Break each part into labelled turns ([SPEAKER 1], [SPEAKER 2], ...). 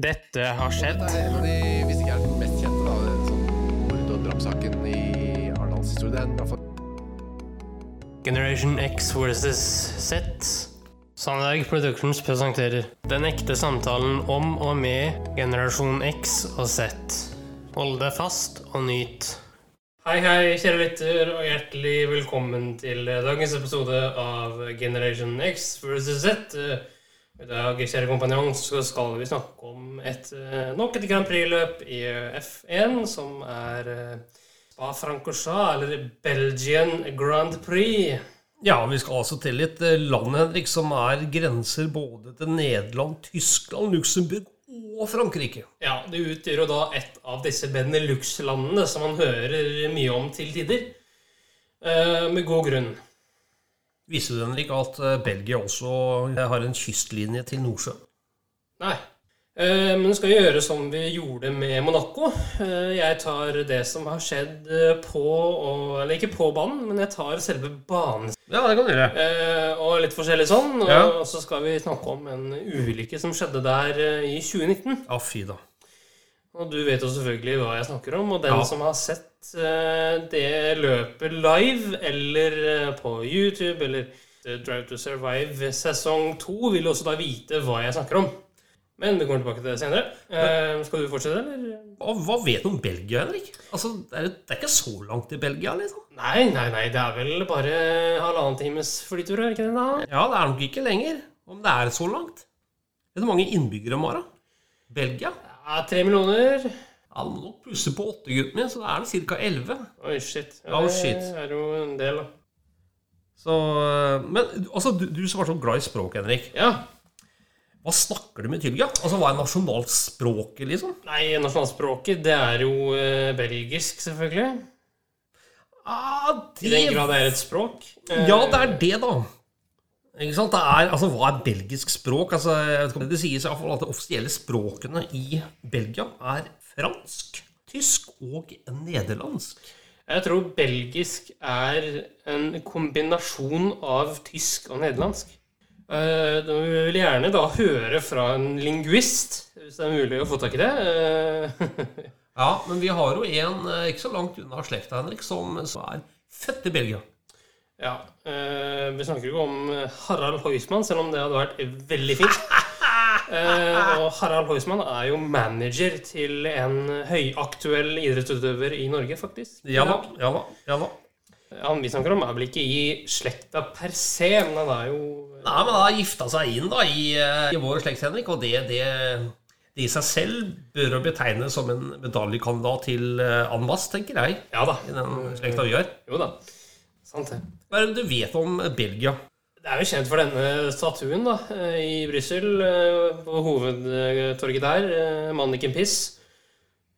[SPEAKER 1] Dette har skjedd.
[SPEAKER 2] Dette er en av de, hvis ikke er den mest kjente, da, den sånn mord- og drapssaken i Arendals historie. Det er i hvert fall
[SPEAKER 1] Generation X versus Z. Sandberg Productions presenterer Den ekte samtalen om og med generasjon X og Z. Hold deg fast og nyt. Hei, hei, kjære lytter, og hjertelig velkommen til eh, dagens episode av Generation X versus Z. Eh, I dag, kjære kompanjong, så skal vi snakke om et, eh, nok et Grand Prix-løp i eh, F1, som er eh, Spa-Francorchamps, eller Belgian Grand Prix.
[SPEAKER 3] Ja, vi skal altså til et eh, land, Henrik, som er grenser både til Nederland, Tyskland, Luxembourg og Frankrike.
[SPEAKER 1] Ja, Det utgjør jo da et av disse Benelux-landene som man hører mye om til tider. Eh, Med god grunn.
[SPEAKER 3] Visste du, Henrik, at eh, Belgia også eh, har en kystlinje til Nordsjøen?
[SPEAKER 1] Nei. Eh, Men skal vi gjøre som vi gjorde med Monaco. Eh, Jeg tar det som har skjedd eh, på og, Eller ikke på banen, men jeg tar selve banen.
[SPEAKER 3] Ja, det kan du gjøre.
[SPEAKER 1] Eh, Og litt forskjellig sånn. Og
[SPEAKER 3] Ja.
[SPEAKER 1] og så skal vi snakke om en ulykke som skjedde der eh, i 2019.
[SPEAKER 3] Ja, fy da.
[SPEAKER 1] Og du vet jo selvfølgelig hva jeg snakker om. Og den
[SPEAKER 3] Ja.
[SPEAKER 1] som har sett eh, det løpet live, eller eh, på YouTube, eller The Drive to Survive sesong to, vil også da vite hva jeg snakker om. Men vi kommer tilbake til det senere. Eh, skal du fortsette, eller?
[SPEAKER 3] Hva, hva vet du om Belgia, Henrik? Altså, det er, det er ikke så langt til Belgia, liksom.
[SPEAKER 1] Nei, nei, nei. Det er vel bare halvannen times flytur, er det ikke det? da?
[SPEAKER 3] Ja, det er nok ikke lenger, om det er så langt. Vet du hvor mange innbyggere Mara? Belgia?
[SPEAKER 1] Ja, tre millioner.
[SPEAKER 3] Ja, du må nok plusse på åtte, gutten min, så da er det ca. elleve.
[SPEAKER 1] Oi, shit.
[SPEAKER 3] Oh,
[SPEAKER 1] Det
[SPEAKER 3] shit.
[SPEAKER 1] er jo en del, da.
[SPEAKER 3] Så, eh, men altså, du, du som var så glad i språk, Henrik.
[SPEAKER 1] Ja.
[SPEAKER 3] Hva snakker du med Tyrkia? Altså, hva er nasjonalt språket, liksom?
[SPEAKER 1] Nei, nasjonalspråket, det er jo eh, belgisk, selvfølgelig.
[SPEAKER 3] Ah,
[SPEAKER 1] I den grad det er et språk. Eh,
[SPEAKER 3] Ja, det er det, da. Ikke sant? Det er, altså, hva er belgisk språk? Altså, jeg vet ikke om det sies i hvert fall at det offisielle språkene i Belgia er fransk, tysk og nederlandsk.
[SPEAKER 1] Jeg tror belgisk er en kombinasjon av tysk og nederlandsk. Eh, Da vil vi vel gjerne da høre fra en lingvist, hvis det er mulig å få tak i det. Eh,
[SPEAKER 3] Ja, men vi har jo en eh, ikke så langt unna slekta, Henrik, som, som er født i Belgia.
[SPEAKER 1] Ja, eh, Vi snakker ikke om Harald Heusmann, selv om det hadde vært veldig fint. Eh, Og Harald Heusmann er jo manager til en høyaktuell idrettsutøver i Norge, faktisk.
[SPEAKER 3] Ja da, ja da, ja da.
[SPEAKER 1] Han vi snakker om, er vel ikke i slekta per se, men han er jo
[SPEAKER 3] Nei, men han har gifta seg inn da, i, eh, i vår slekt, Henrik, og det, det, det i seg selv bør jo betegnes som en medaljekandidat til eh, en masse, tenker jeg,
[SPEAKER 1] Ja da.
[SPEAKER 3] i den slekta vi har.
[SPEAKER 1] Jo da. Sant det.
[SPEAKER 3] Hva er det du vet om Belgia?
[SPEAKER 1] Det er jo kjent for denne statuen da, eh, i Brussel, eh, på hovedtorget der. eh, Manniken Piss.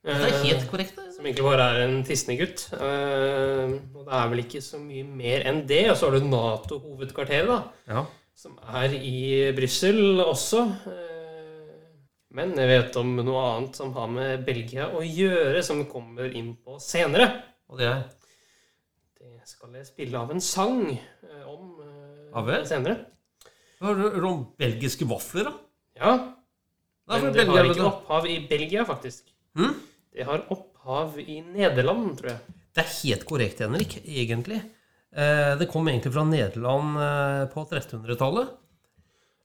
[SPEAKER 1] eh,
[SPEAKER 3] Det er helt korrekt. det.
[SPEAKER 1] Som egentlig bare er en tisnegutt. Eh, Og det er vel ikke så mye mer enn det. Og så har du Nato-hovedkvarteret, da,
[SPEAKER 3] Ja.
[SPEAKER 1] som er i Brussel også. Eh, Men jeg vet om noe annet som har med Belgia å gjøre, som vi kommer inn på senere.
[SPEAKER 3] Og det er
[SPEAKER 1] Det skal jeg spille av en sang eh, om eh,
[SPEAKER 3] Ja vel.
[SPEAKER 1] senere.
[SPEAKER 3] Hva Hører du om belgiske vafler, da?
[SPEAKER 1] Ja,
[SPEAKER 3] Nei,
[SPEAKER 1] Men
[SPEAKER 3] for
[SPEAKER 1] det
[SPEAKER 3] Belgia,
[SPEAKER 1] har
[SPEAKER 3] vet
[SPEAKER 1] ikke
[SPEAKER 3] du.
[SPEAKER 1] opphav i Belgia, faktisk.
[SPEAKER 3] Hm?
[SPEAKER 1] Det har opphav i Nederland, tror jeg.
[SPEAKER 3] Det er helt korrekt, Henrik, egentlig. Eh, Det kom egentlig fra Nederland eh, på 1300-tallet.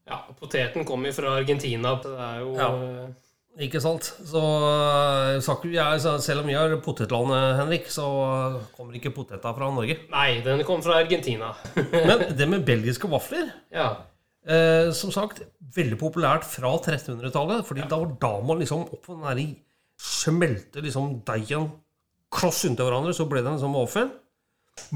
[SPEAKER 1] Ja, Poteten kommer fra Argentina. så Det er jo
[SPEAKER 3] Ja.
[SPEAKER 1] eh,
[SPEAKER 3] Ikke sant? Så eh, sa ikke jeg, så selv om vi er potetlandet, Henrik, så kommer ikke poteta fra Norge.
[SPEAKER 1] Nei, den kom fra Argentina.
[SPEAKER 3] Men det med belgiske vafler
[SPEAKER 1] ja.
[SPEAKER 3] eh, Som sagt, veldig populært fra 1300-tallet. Fordi da var da man liksom opp på den der i- smelte liksom deigen kloss inntil hverandre, så ble det en sånn vaffel.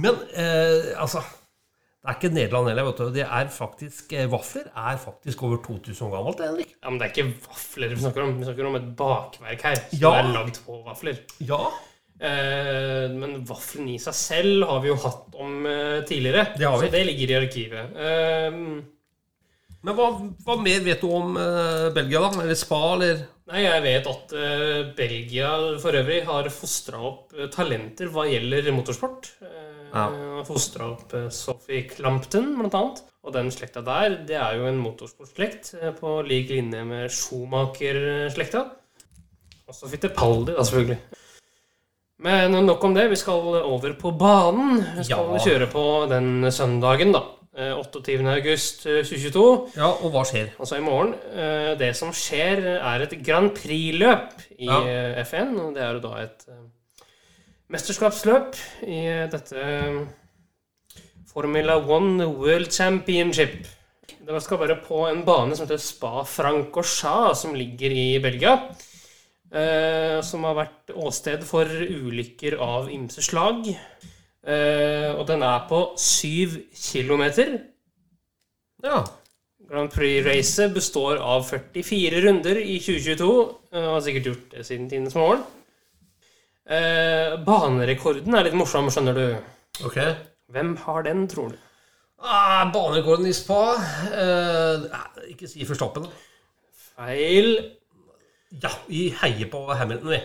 [SPEAKER 3] Men eh, altså Det er ikke Nederland heller, vet du. Det er faktisk, eh, vafler er faktisk over 2000 år gammelt, Henrik.
[SPEAKER 1] ja, Men det er ikke vafler vi snakker om. Vi snakker om et bakverk her. Som
[SPEAKER 3] Ja.
[SPEAKER 1] er lagd på vafler.
[SPEAKER 3] Ja,
[SPEAKER 1] Eh, men vaffelen i seg selv har vi jo hatt om eh, tidligere.
[SPEAKER 3] Det har vi.
[SPEAKER 1] Så det ligger i arkivet. Eh,
[SPEAKER 3] Men hva, hva mer vet du om eh, Belgia, da? Eller spa, eller
[SPEAKER 1] Nei, jeg vet at eh, Belgia for øvrig har fostra opp eh, talenter hva gjelder motorsport. Uh,
[SPEAKER 3] Ja.
[SPEAKER 1] Fostra opp eh, Sophie Clampton, eh, blant annet. Og den slekta der, det er jo en motorsportslekt eh, på lik linje med Schumacher-slekta. Og så Fittipaldi, da, selvfølgelig. Men nok om det. Vi skal over på banen. Vi skal
[SPEAKER 3] Ja.
[SPEAKER 1] kjøre på den søndagen, da. Eh, 28. august eh, 2022.
[SPEAKER 3] Ja, og hva skjer?
[SPEAKER 1] Altså i morgen. eh, Det som skjer, er et Grand Prix-løp i
[SPEAKER 3] Ja.
[SPEAKER 1] eh, F1. Og det er jo da et eh, mesterskapsløp i eh, dette eh, Formula One World Championship. Det skal være på en bane som heter Spa-Francorchamps, som ligger i Belgia. eh, Som har vært åsted for ulykker av ymse slag. Eh, Og den er på syv kilometer.
[SPEAKER 3] Ja.
[SPEAKER 1] Grand Prix-racet består av 44 runder i 2022, og har sikkert gjort det siden tidenes morgen. Eh, banerekorden er litt morsom, skjønner du.
[SPEAKER 3] Ok.
[SPEAKER 1] Hvem har den, tror du?
[SPEAKER 3] Ah, Banerekorden i spa eh, nei, Ikke si Forstappen, da.
[SPEAKER 1] Feil.
[SPEAKER 3] Ja, vi heier på Hamilton, vi.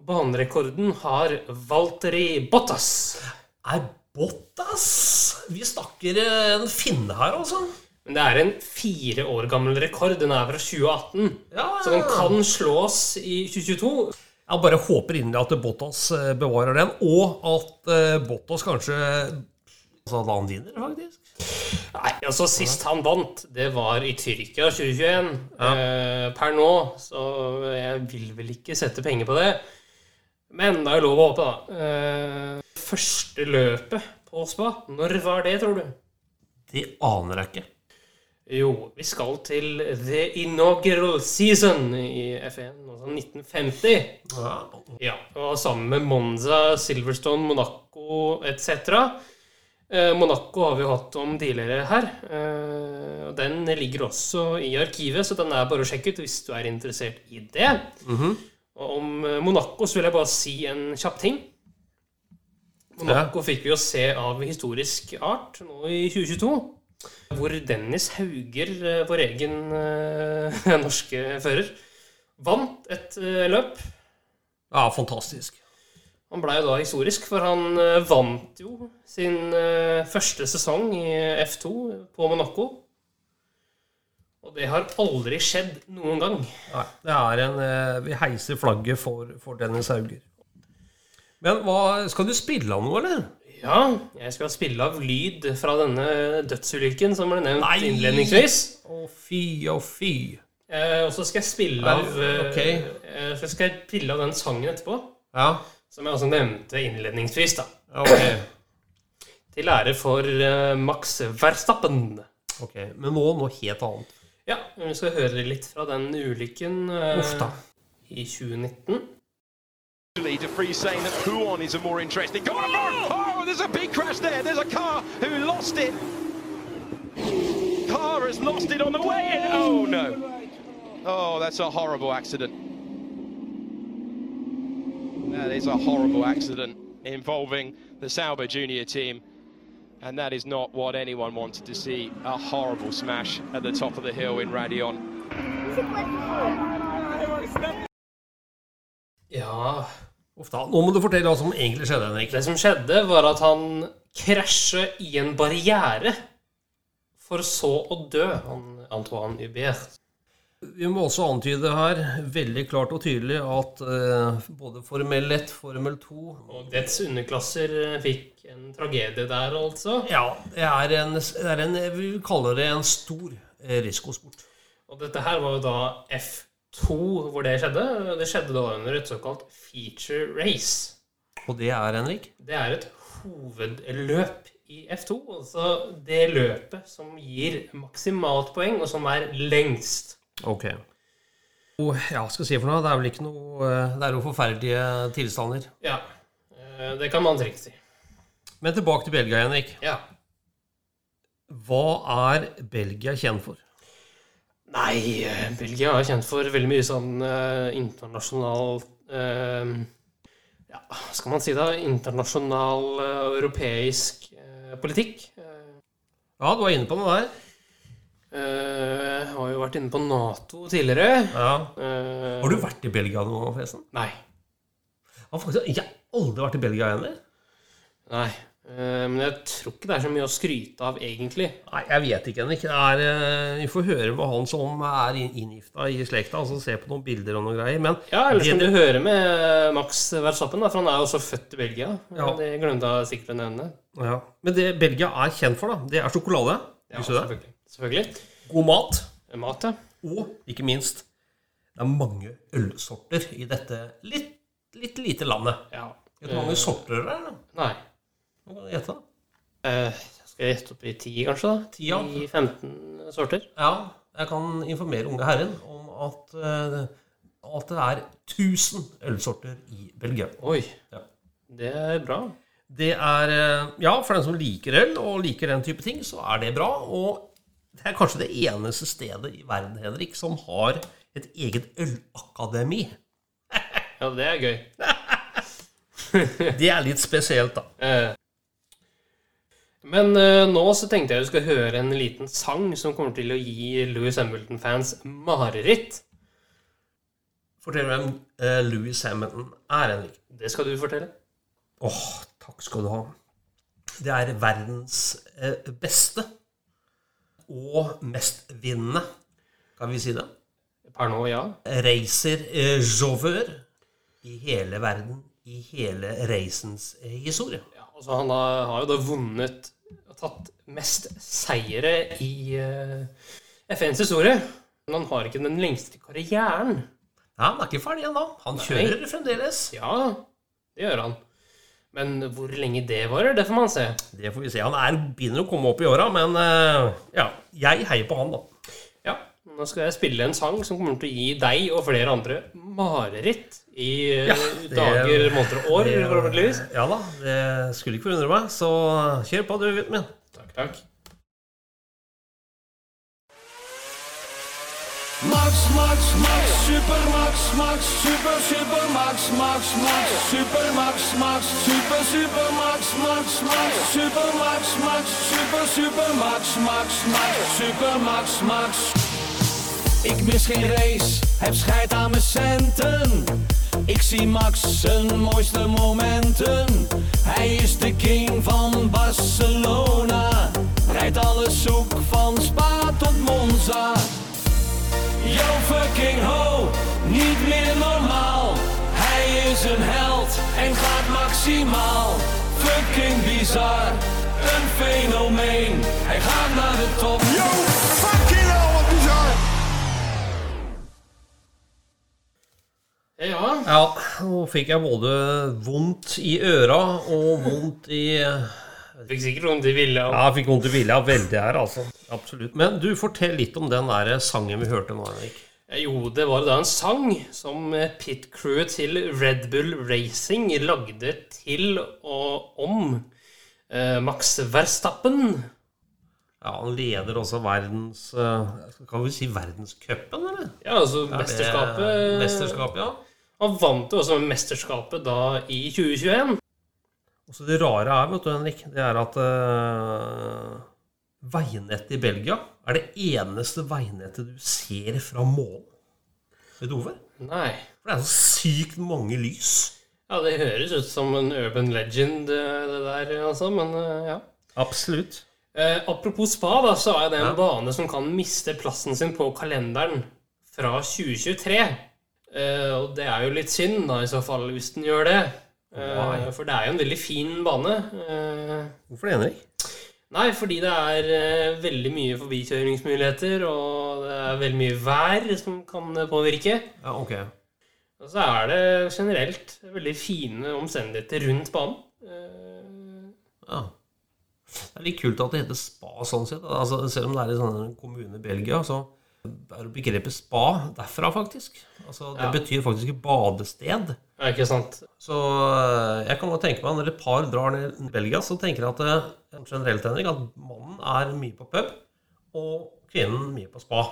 [SPEAKER 1] Banerekorden har Valtteri Bottas.
[SPEAKER 3] Er Bottas Vi snakker eh, en finne her, altså.
[SPEAKER 1] Men det er en fire år gammel rekord. Den er fra 2018.
[SPEAKER 3] Ja,
[SPEAKER 1] Så den kan slås i 2022.
[SPEAKER 3] Jeg bare håper inderlig at Bottas eh, bevarer den, og at eh, Bottas kanskje Altså at han vinner, faktisk.
[SPEAKER 1] Nei, altså Sist han vant, det var i Tyrkia 2021. Eh, per nå, så jeg vil vel ikke sette penger på det. Men det er jo lov å håpe, da. Eh, første løpet på spa, når var det, tror du?
[SPEAKER 3] Det aner jeg ikke.
[SPEAKER 1] Jo, vi skal til the inaugural season i F1, altså 1950.
[SPEAKER 3] Ja.
[SPEAKER 1] Ja, og sammen med Monza, Silverstone, Monaco etc. Eh, Monaco har vi jo hatt om tidligere her. Eh, og den ligger også i arkivet, så den er bare å sjekke ut hvis du er interessert i det. Og om eh, Monaco så vil jeg bare si en kjapp ting. Monaco fikk vi jo se av historisk art nå i 2022. Hvor Dennis Hauger, eh, vår egen eh, norske fører, vant et eh, løp.
[SPEAKER 3] ja, fantastisk.
[SPEAKER 1] Han blei jo da historisk, for han eh, vant jo sin eh, første sesong i F2 på Monaco. Og det har aldri skjedd noen gang.
[SPEAKER 3] Nei, det er en, eh, vi heiser flagget for, for Dennis Hauger. Men hva, skal du spille av noe, eller?
[SPEAKER 1] Ja, jeg skal spille av lyd fra denne dødsulykken som ble nevnt
[SPEAKER 3] Nei!
[SPEAKER 1] innledningsvis.
[SPEAKER 3] Å fy, å fy.
[SPEAKER 1] Eh, og så skal jeg spille
[SPEAKER 3] Er-
[SPEAKER 1] av eh,
[SPEAKER 3] ok.
[SPEAKER 1] eh, Så skal jeg spille av den sangen etterpå,
[SPEAKER 3] Ja,
[SPEAKER 1] som jeg også nevnte innledningsvis, da.
[SPEAKER 3] ok.
[SPEAKER 1] Til ære for eh, Max Verstappen.
[SPEAKER 3] ok. Men nå noe helt annet.
[SPEAKER 1] Ja, vi skal høre litt fra den ulykken eh,
[SPEAKER 3] Uff da.
[SPEAKER 1] i 2019.
[SPEAKER 4] Actually, DeFries saying that Huon is a more interesting. Go on, Lauren! Oh, there's a big crash there. There's a car who lost it. Car has lost it on the way in. Oh no! Oh, that's a horrible accident. That is a horrible accident involving the Sauber Junior team. And that is not what anyone wanted to see. A horrible smash at the top of the hill in Radion.
[SPEAKER 1] Ja
[SPEAKER 3] Uff da. Nå må du fortelle hva som egentlig skjedde, Henrik.
[SPEAKER 1] Det som skjedde, var at han krasjet i en barriere, for så å dø, han Antoine Hubert.
[SPEAKER 3] Vi må også antyde her veldig klart og tydelig at eh, både Formel 1, Formel 2
[SPEAKER 1] Og dets underklasser eh, fikk en tragedie der, altså.
[SPEAKER 3] Ja, det er en, det er en jeg vil kalle det en stor eh, risikosport.
[SPEAKER 1] Og dette her var jo da F2 hvor det skjedde. Det skjedde da under et såkalt feature race.
[SPEAKER 3] Og det er, Henrik
[SPEAKER 1] Det er et hovedløp i F2. Altså det løpet som gir maksimalt poeng, og som er lengst.
[SPEAKER 3] Ok. Og, ja, skal jeg si for noe, det er vel ikke noe eh, Det er jo forferdelige tilstander.
[SPEAKER 1] Ja. eh, Det kan man trygt si.
[SPEAKER 3] Men tilbake til Belgia, Henrik.
[SPEAKER 1] Ja.
[SPEAKER 3] Hva er Belgia kjent for?
[SPEAKER 1] Nei, eh, Belgia er kjent for veldig mye sånn eh, internasjonal eh, Ja, hva skal man si da? Internasjonal eh, europeisk eh, politikk.
[SPEAKER 3] Ja, du var inne på noe der.
[SPEAKER 1] Eh, har jo vært inne på Nato tidligere.
[SPEAKER 3] Ja.
[SPEAKER 1] Eh,
[SPEAKER 3] Har du vært i Belgia noen gang, forresten?
[SPEAKER 1] Nei.
[SPEAKER 3] Jeg har faktisk- jeg har aldri vært i Belgia heller.
[SPEAKER 1] Nei. Eh, Men jeg tror ikke det er så mye å skryte av, egentlig.
[SPEAKER 3] Nei, jeg vet ikke, Henrik. Det er, eh, vi får høre med han som er inn- inngifta i slekta, altså se på noen bilder og noen greier. Men
[SPEAKER 1] Ja, Eller
[SPEAKER 3] det
[SPEAKER 1] som du
[SPEAKER 3] du-
[SPEAKER 1] hører med eh, Max Verstappen, da, for han er jo også født i Belgia. Eh,
[SPEAKER 3] Ja.
[SPEAKER 1] Det glemte jeg sikkert å nevne.
[SPEAKER 3] ja. Men det Belgia er kjent for, da, det er sjokolade.
[SPEAKER 1] Ja,
[SPEAKER 3] Visste du det?
[SPEAKER 1] selvfølgelig. selvfølgelig.
[SPEAKER 3] God mat.
[SPEAKER 1] Mat, ja.
[SPEAKER 3] Og ikke minst, det er mange ølsorter i dette litt, litt lite landet.
[SPEAKER 1] ja. Eh,
[SPEAKER 3] Vet du hvor mange sorter det er? da?
[SPEAKER 1] Nei.
[SPEAKER 3] Hva kan du gjette? da?
[SPEAKER 1] Eh, skal jeg gjette opp i ti, kanskje? da?
[SPEAKER 3] Ti, ja.
[SPEAKER 1] 10-15 sorter?
[SPEAKER 3] Ja, jeg kan informere unge herren om at, eh, at det er 1000 ølsorter i Belgia.
[SPEAKER 1] Oi.
[SPEAKER 3] Ja.
[SPEAKER 1] Det er bra.
[SPEAKER 3] Det er, eh, ja, for den som liker øl og liker den type ting, så er det bra. Og det er kanskje det eneste stedet i verden, Henrik, som har et eget ølakademi.
[SPEAKER 1] Ja, det er gøy.
[SPEAKER 3] Det er litt spesielt, da.
[SPEAKER 1] Eh. Men eh, nå så tenkte jeg du skal høre en liten sang som kommer til å gi Louis Hamilton-fans mareritt.
[SPEAKER 3] Fortell hvem eh, Louis Hamilton er, Henrik.
[SPEAKER 1] Det skal du fortelle.
[SPEAKER 3] Åh, takk skal du ha. Det er verdens eh, beste og mestvinnende, kan vi si det,
[SPEAKER 1] Per nå, ja.
[SPEAKER 3] racerjåfør i hele verden, i hele racens eh, historie.
[SPEAKER 1] ja altså, han har, har jo da vunnet og tatt mest seire i eh, FNs historie. Men han har ikke den lengste karrieren.
[SPEAKER 3] Ja, han er ikke ferdig ennå. Han kjører fremdeles.
[SPEAKER 1] Ja, det gjør han. Men hvor lenge det varer, det får man se.
[SPEAKER 3] Det får vi se. Han er, begynner å komme opp i åra, men eh, ja, jeg heier på han, da.
[SPEAKER 1] Ja, nå skal jeg spille en sang som kommer til å gi deg og flere andre mareritt i eh,
[SPEAKER 3] det-
[SPEAKER 1] dager, måneder og år, forhåpentligvis.
[SPEAKER 3] Ja da, det skulle ikke forundre meg. Så kjør på, du, gutten min.
[SPEAKER 1] Takk, takk.
[SPEAKER 5] Max, Max, Max, Super Max, Max, Super, Super Max, Max, Max, Super Max, Max, Super, Super Max, Max, Max, Super Max, Max, Super, Super Max, Max, Max, Super Max, Max. Ik mis geen race, heb scheid aan mijn centen. Ik zie Max zijn mooiste momenten. Hij is de king van Barcelona. Rijdt alles zoek van Spa tot Monza. Yo fucking ho, niet meer normaal. Hij is een held en gaat maximaal. Fucking bizar, een fenomeen. Hij gaat naar de top.
[SPEAKER 6] Yo, fucking hell, wat bizar!
[SPEAKER 1] Ja,
[SPEAKER 3] Ja, nå fikk jeg både vondt i øra og vondt i Ja,
[SPEAKER 1] jeg fikk sikkert om de ville. om-
[SPEAKER 3] jeg fikk vondt i vilja veldig her, altså. Absolutt. Men du, fortell litt om den der sangen vi hørte nå, Henrik.
[SPEAKER 1] Jo, det var da en sang som eh, pit-crewet til Red Bull Racing lagde til og om eh, Max Verstappen.
[SPEAKER 3] Ja, Han leder også verdens eh, Kan vi si verdenscupen, eller?
[SPEAKER 1] Ja, altså mesterskapet.
[SPEAKER 3] Eh, Mesterskapet, ja.
[SPEAKER 1] Han vant jo også mesterskapet da i 2021.
[SPEAKER 3] Og så det rare er, vet du, Henrik, det er at eh, veinettet i Belgia er det eneste veinettet du ser fra månen. Vet du hvorfor?
[SPEAKER 1] Nei.
[SPEAKER 3] For det er så sykt mange lys.
[SPEAKER 1] Ja, det høres ut som en urban legend, eh, det der, altså, men eh, ja.
[SPEAKER 3] Absolutt.
[SPEAKER 1] Eh, apropos spa, da, så er det en bane som kan miste plassen sin på kalenderen fra 2023. Eh, og det er jo litt synd, da, i så fall, hvis den gjør det. Eh,
[SPEAKER 3] Why?
[SPEAKER 1] for det er jo en veldig fin bane. Eh,
[SPEAKER 3] Hvorfor det, Henrik?
[SPEAKER 1] nei, fordi det er eh, veldig mye forbikjøringsmuligheter, og det er veldig mye vær som kan eh, påvirke.
[SPEAKER 3] Ja, ok.
[SPEAKER 1] Og så er det generelt veldig fine omstendigheter rundt banen. Eh,
[SPEAKER 3] Ja. Det er litt kult at det heter spa sånn sett. Altså, selv om det er i sånne kommune i Belgia, så er det begrepet spa derfra, faktisk. Altså, det
[SPEAKER 1] Ja.
[SPEAKER 3] betyr faktisk ikke badested.
[SPEAKER 1] ja, ikke sant?
[SPEAKER 3] Så eh, jeg kan godt tenke meg, når et par drar ned til Belgia, så tenker jeg at eh, generelt, Henrik, at mannen er mye på pub, og kvinnen mye på spa.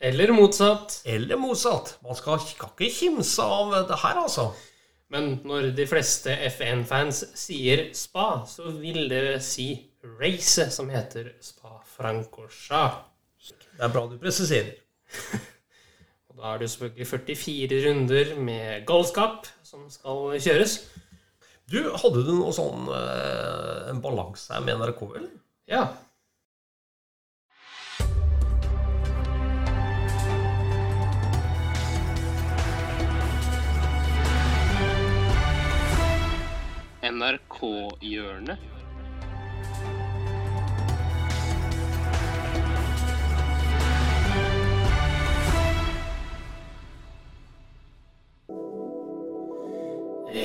[SPEAKER 1] Eller motsatt.
[SPEAKER 3] Eller motsatt. Man skal, skal ikke kimse av det her, altså.
[SPEAKER 1] Men når de fleste F1-fans sier spa, så vil det si race, som heter Spa Francorchamps.
[SPEAKER 3] Det er bra du presiserer.
[SPEAKER 1] Og da er det jo selvfølgelig 44 runder med galskap som skal kjøres.
[SPEAKER 3] Du, hadde du noe sånn eh, en balanse her med NRK, eller?
[SPEAKER 7] Ja.
[SPEAKER 8] NRK-hjørnet.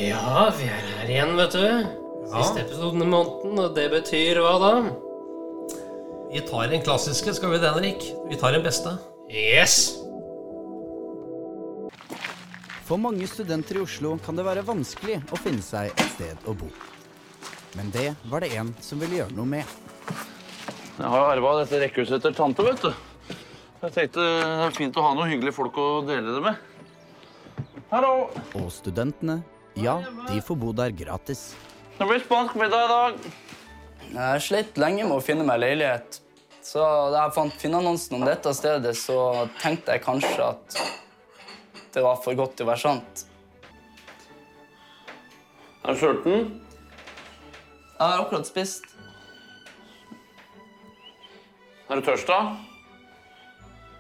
[SPEAKER 1] Ja, vi er her igjen, vet du. Siste episoden i måneden, og det betyr hva da?
[SPEAKER 3] Vi tar den klassiske, skal vi det, Henrik? Vi tar den beste.
[SPEAKER 1] Yes!
[SPEAKER 9] For mange studenter i Oslo kan det være vanskelig å finne seg et sted å bo. Men det var det en som ville gjøre noe med.
[SPEAKER 10] Jeg har jo arva dette rekkehuset etter tante, vet du. Jeg tenkte det er fint å ha noen hyggelige folk å dele det med. Hallo!
[SPEAKER 9] Og studentene, ja, de får bo der gratis.
[SPEAKER 10] Det blir spansk middag i dag.
[SPEAKER 8] Jeg har slitt lenge med å finne meg leilighet. Så da jeg fant Finnannonsen om dette stedet, så tenkte jeg kanskje at det var for godt til å være sant.
[SPEAKER 10] Er du sulten?
[SPEAKER 8] Jeg har akkurat spist.
[SPEAKER 10] Er du tørst, da?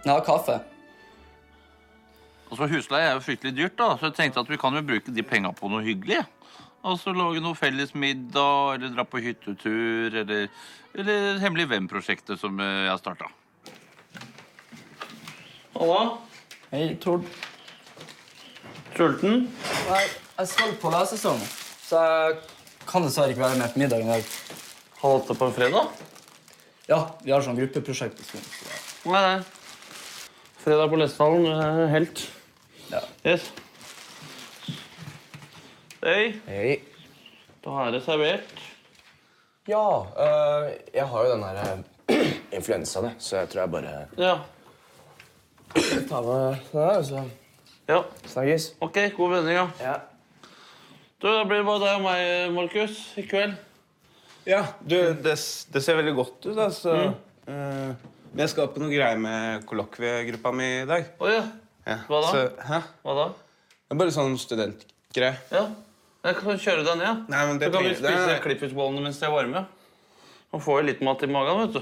[SPEAKER 8] Jeg har kaffe.
[SPEAKER 10] Altså, Husleie er jo fryktelig dyrt, da, så jeg tenkte at vi kan jo bruke de penga på noe hyggelig. Altså lage noe felles middag, eller dra på hyttetur, eller, eller Hemmelig venn-prosjektet som eh, jeg har starta. Halla?
[SPEAKER 8] Hei, Tord.
[SPEAKER 10] Sulten?
[SPEAKER 8] Jeg, jeg skal på lesesesong, så jeg kan dessverre ikke være med på middagen i dag.
[SPEAKER 10] Halv åtte på en fredag?
[SPEAKER 8] Ja, vi har sånn gruppeprosjekt på skolen. så det-
[SPEAKER 10] Nei, nei. Fredag på Lesthallen, du er helt.
[SPEAKER 8] Ja.
[SPEAKER 10] Yes. Hei,
[SPEAKER 11] Hei.
[SPEAKER 10] da har jeg servert.
[SPEAKER 11] Ja, øh, jeg har jo den her øh, influensaen, jeg, så jeg tror jeg bare
[SPEAKER 10] Ja.
[SPEAKER 11] tar med den her, så
[SPEAKER 10] ja.
[SPEAKER 11] snakkes.
[SPEAKER 10] Ok, god vending, ja.
[SPEAKER 11] Ja.
[SPEAKER 10] Du, da blir det bare deg og meg, Markus, i kveld.
[SPEAKER 12] Ja, du, det, s- det ser veldig godt ut, da, så eh, Men jeg skal på noe greier med kollokviegruppa mi i dag.
[SPEAKER 10] Å ja.
[SPEAKER 12] Ja,
[SPEAKER 10] Hva da?
[SPEAKER 12] Så, hæ?
[SPEAKER 10] Hva da?
[SPEAKER 12] Det er bare sånn studentgreie.
[SPEAKER 10] Ja. Jeg kan kjøre deg ned.
[SPEAKER 12] Nei, men det
[SPEAKER 10] så kan vi
[SPEAKER 12] trenger-
[SPEAKER 10] spise
[SPEAKER 12] nei, nei.
[SPEAKER 10] klippfiskbollene mens de er varme. Man får jo litt mat i magen, vet du.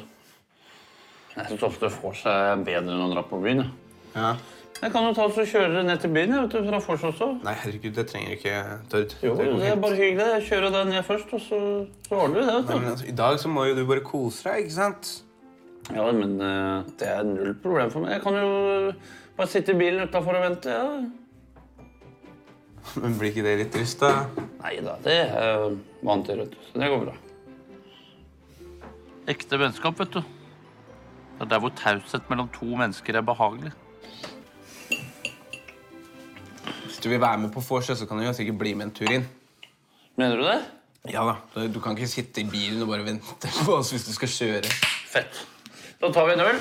[SPEAKER 10] Jeg syns ofte det får seg bedre enn å dra på byen. jeg.
[SPEAKER 12] Ja.
[SPEAKER 10] Jeg kan jo ta oss og kjøre dere ned til byen jeg, vet du, fra Fors også.
[SPEAKER 12] Nei, herregud, det trenger du ikke, Tord.
[SPEAKER 10] Jo,
[SPEAKER 12] går
[SPEAKER 10] det er
[SPEAKER 12] fint.
[SPEAKER 10] bare hyggelig. Jeg kjører deg ned først, og så, så ordner vi det.
[SPEAKER 12] Nei, men
[SPEAKER 10] vet du.
[SPEAKER 12] altså, I dag så må jo du bare kose deg, ikke sant?
[SPEAKER 10] Ja, men eh, det er null problem for meg. Jeg kan jo bare sitte i bilen utafor og vente. Ja.
[SPEAKER 12] Men blir ikke det litt trist, da?
[SPEAKER 10] Nei da, det er jeg vant til, vet du. Så det går bra. Ekte vennskap, vet du. Det er der hvor taushet mellom to mennesker er behagelig.
[SPEAKER 12] Hvis du vil være med på vors, så kan du jo sikkert bli med en tur inn.
[SPEAKER 10] Mener du det?
[SPEAKER 12] Ja da. Du- Du kan ikke sitte i bilen og bare vente på oss hvis du skal kjøre.
[SPEAKER 10] Fett. Da tar vi en øl,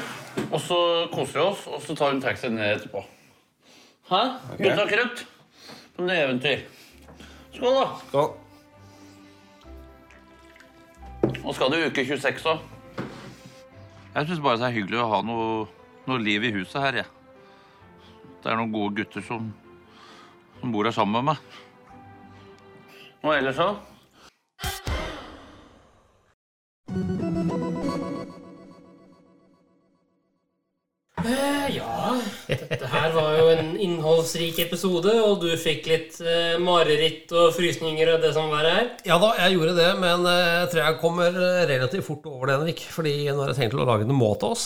[SPEAKER 10] og så koser vi oss, og så tar vi en taxi ned etterpå. Hæ?
[SPEAKER 12] Ok.
[SPEAKER 10] Gutta krutt? Som det er eventyr. Skål, da.
[SPEAKER 12] Skål.
[SPEAKER 10] Nå skal du i uke 26 òg. Jeg syns bare det er hyggelig å ha noe, noe liv i huset her, jeg. Det er noen gode gutter som, som bor her sammen med meg. Og ellers så?
[SPEAKER 1] Eh, ja, dette her var jo en innholdsrik episode, og du fikk litt eh, mareritt og frysninger og det som verre er.
[SPEAKER 3] Ja da, jeg gjorde det, men eh, jeg tror jeg kommer eh, relativt fort over det, Henrik. Fordi nå har jeg tenkt å lage noe mat av oss,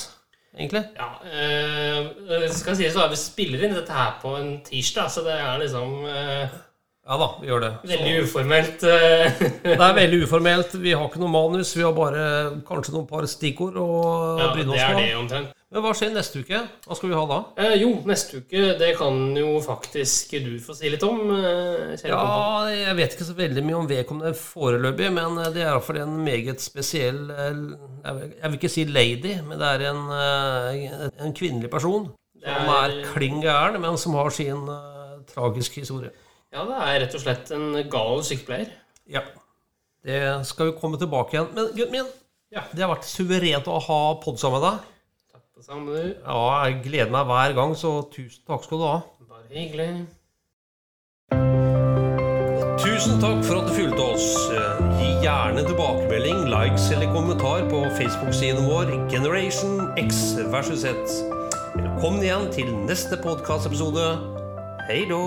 [SPEAKER 3] egentlig.
[SPEAKER 1] Ja, eh, det skal sies at vi spiller inn dette her på en tirsdag, så det er liksom eh,
[SPEAKER 3] Ja da, vi gjør det.
[SPEAKER 1] veldig uformelt. eh.
[SPEAKER 3] Det er veldig uformelt. Vi har ikke noe manus. Vi har bare kanskje noen par stikkord å
[SPEAKER 1] ja,
[SPEAKER 3] bryne
[SPEAKER 1] det
[SPEAKER 3] oss
[SPEAKER 1] er
[SPEAKER 3] på.
[SPEAKER 1] det omtrent.
[SPEAKER 3] Men hva skjer neste uke? Hva skal vi ha da?
[SPEAKER 1] Eh, jo, neste uke, det kan jo faktisk du få si litt om. Eh, kjære
[SPEAKER 3] Ja,
[SPEAKER 1] kompa.
[SPEAKER 3] jeg vet ikke så veldig mye om vedkommende foreløpig, men eh, det er iallfall en meget spesiell eh, Jeg vil- jeg vil ikke si lady, men det er en, eh, en kvinnelig person som er
[SPEAKER 1] Det er-
[SPEAKER 3] kling gæren, men som har sin eh, tragiske historie.
[SPEAKER 1] ja, det er rett og slett en gal sykepleier.
[SPEAKER 3] Ja. Det skal vi komme tilbake igjen. Men gutten min,
[SPEAKER 1] Ja.
[SPEAKER 3] det har vært suverent å ha pod sammen med deg.
[SPEAKER 1] Det samme du.
[SPEAKER 3] Ja, jeg gleder meg hver gang, så tusen takk skal du ha.
[SPEAKER 1] Bare hyggelig.
[SPEAKER 3] Tusen Tusen takk for at du fulgte oss. Eh, Gi gjerne tilbakemelding, likes eller kommentar på Facebook-siden vår Generation X versus Z. Velkommen igjen til neste podkastepisode. Hei då!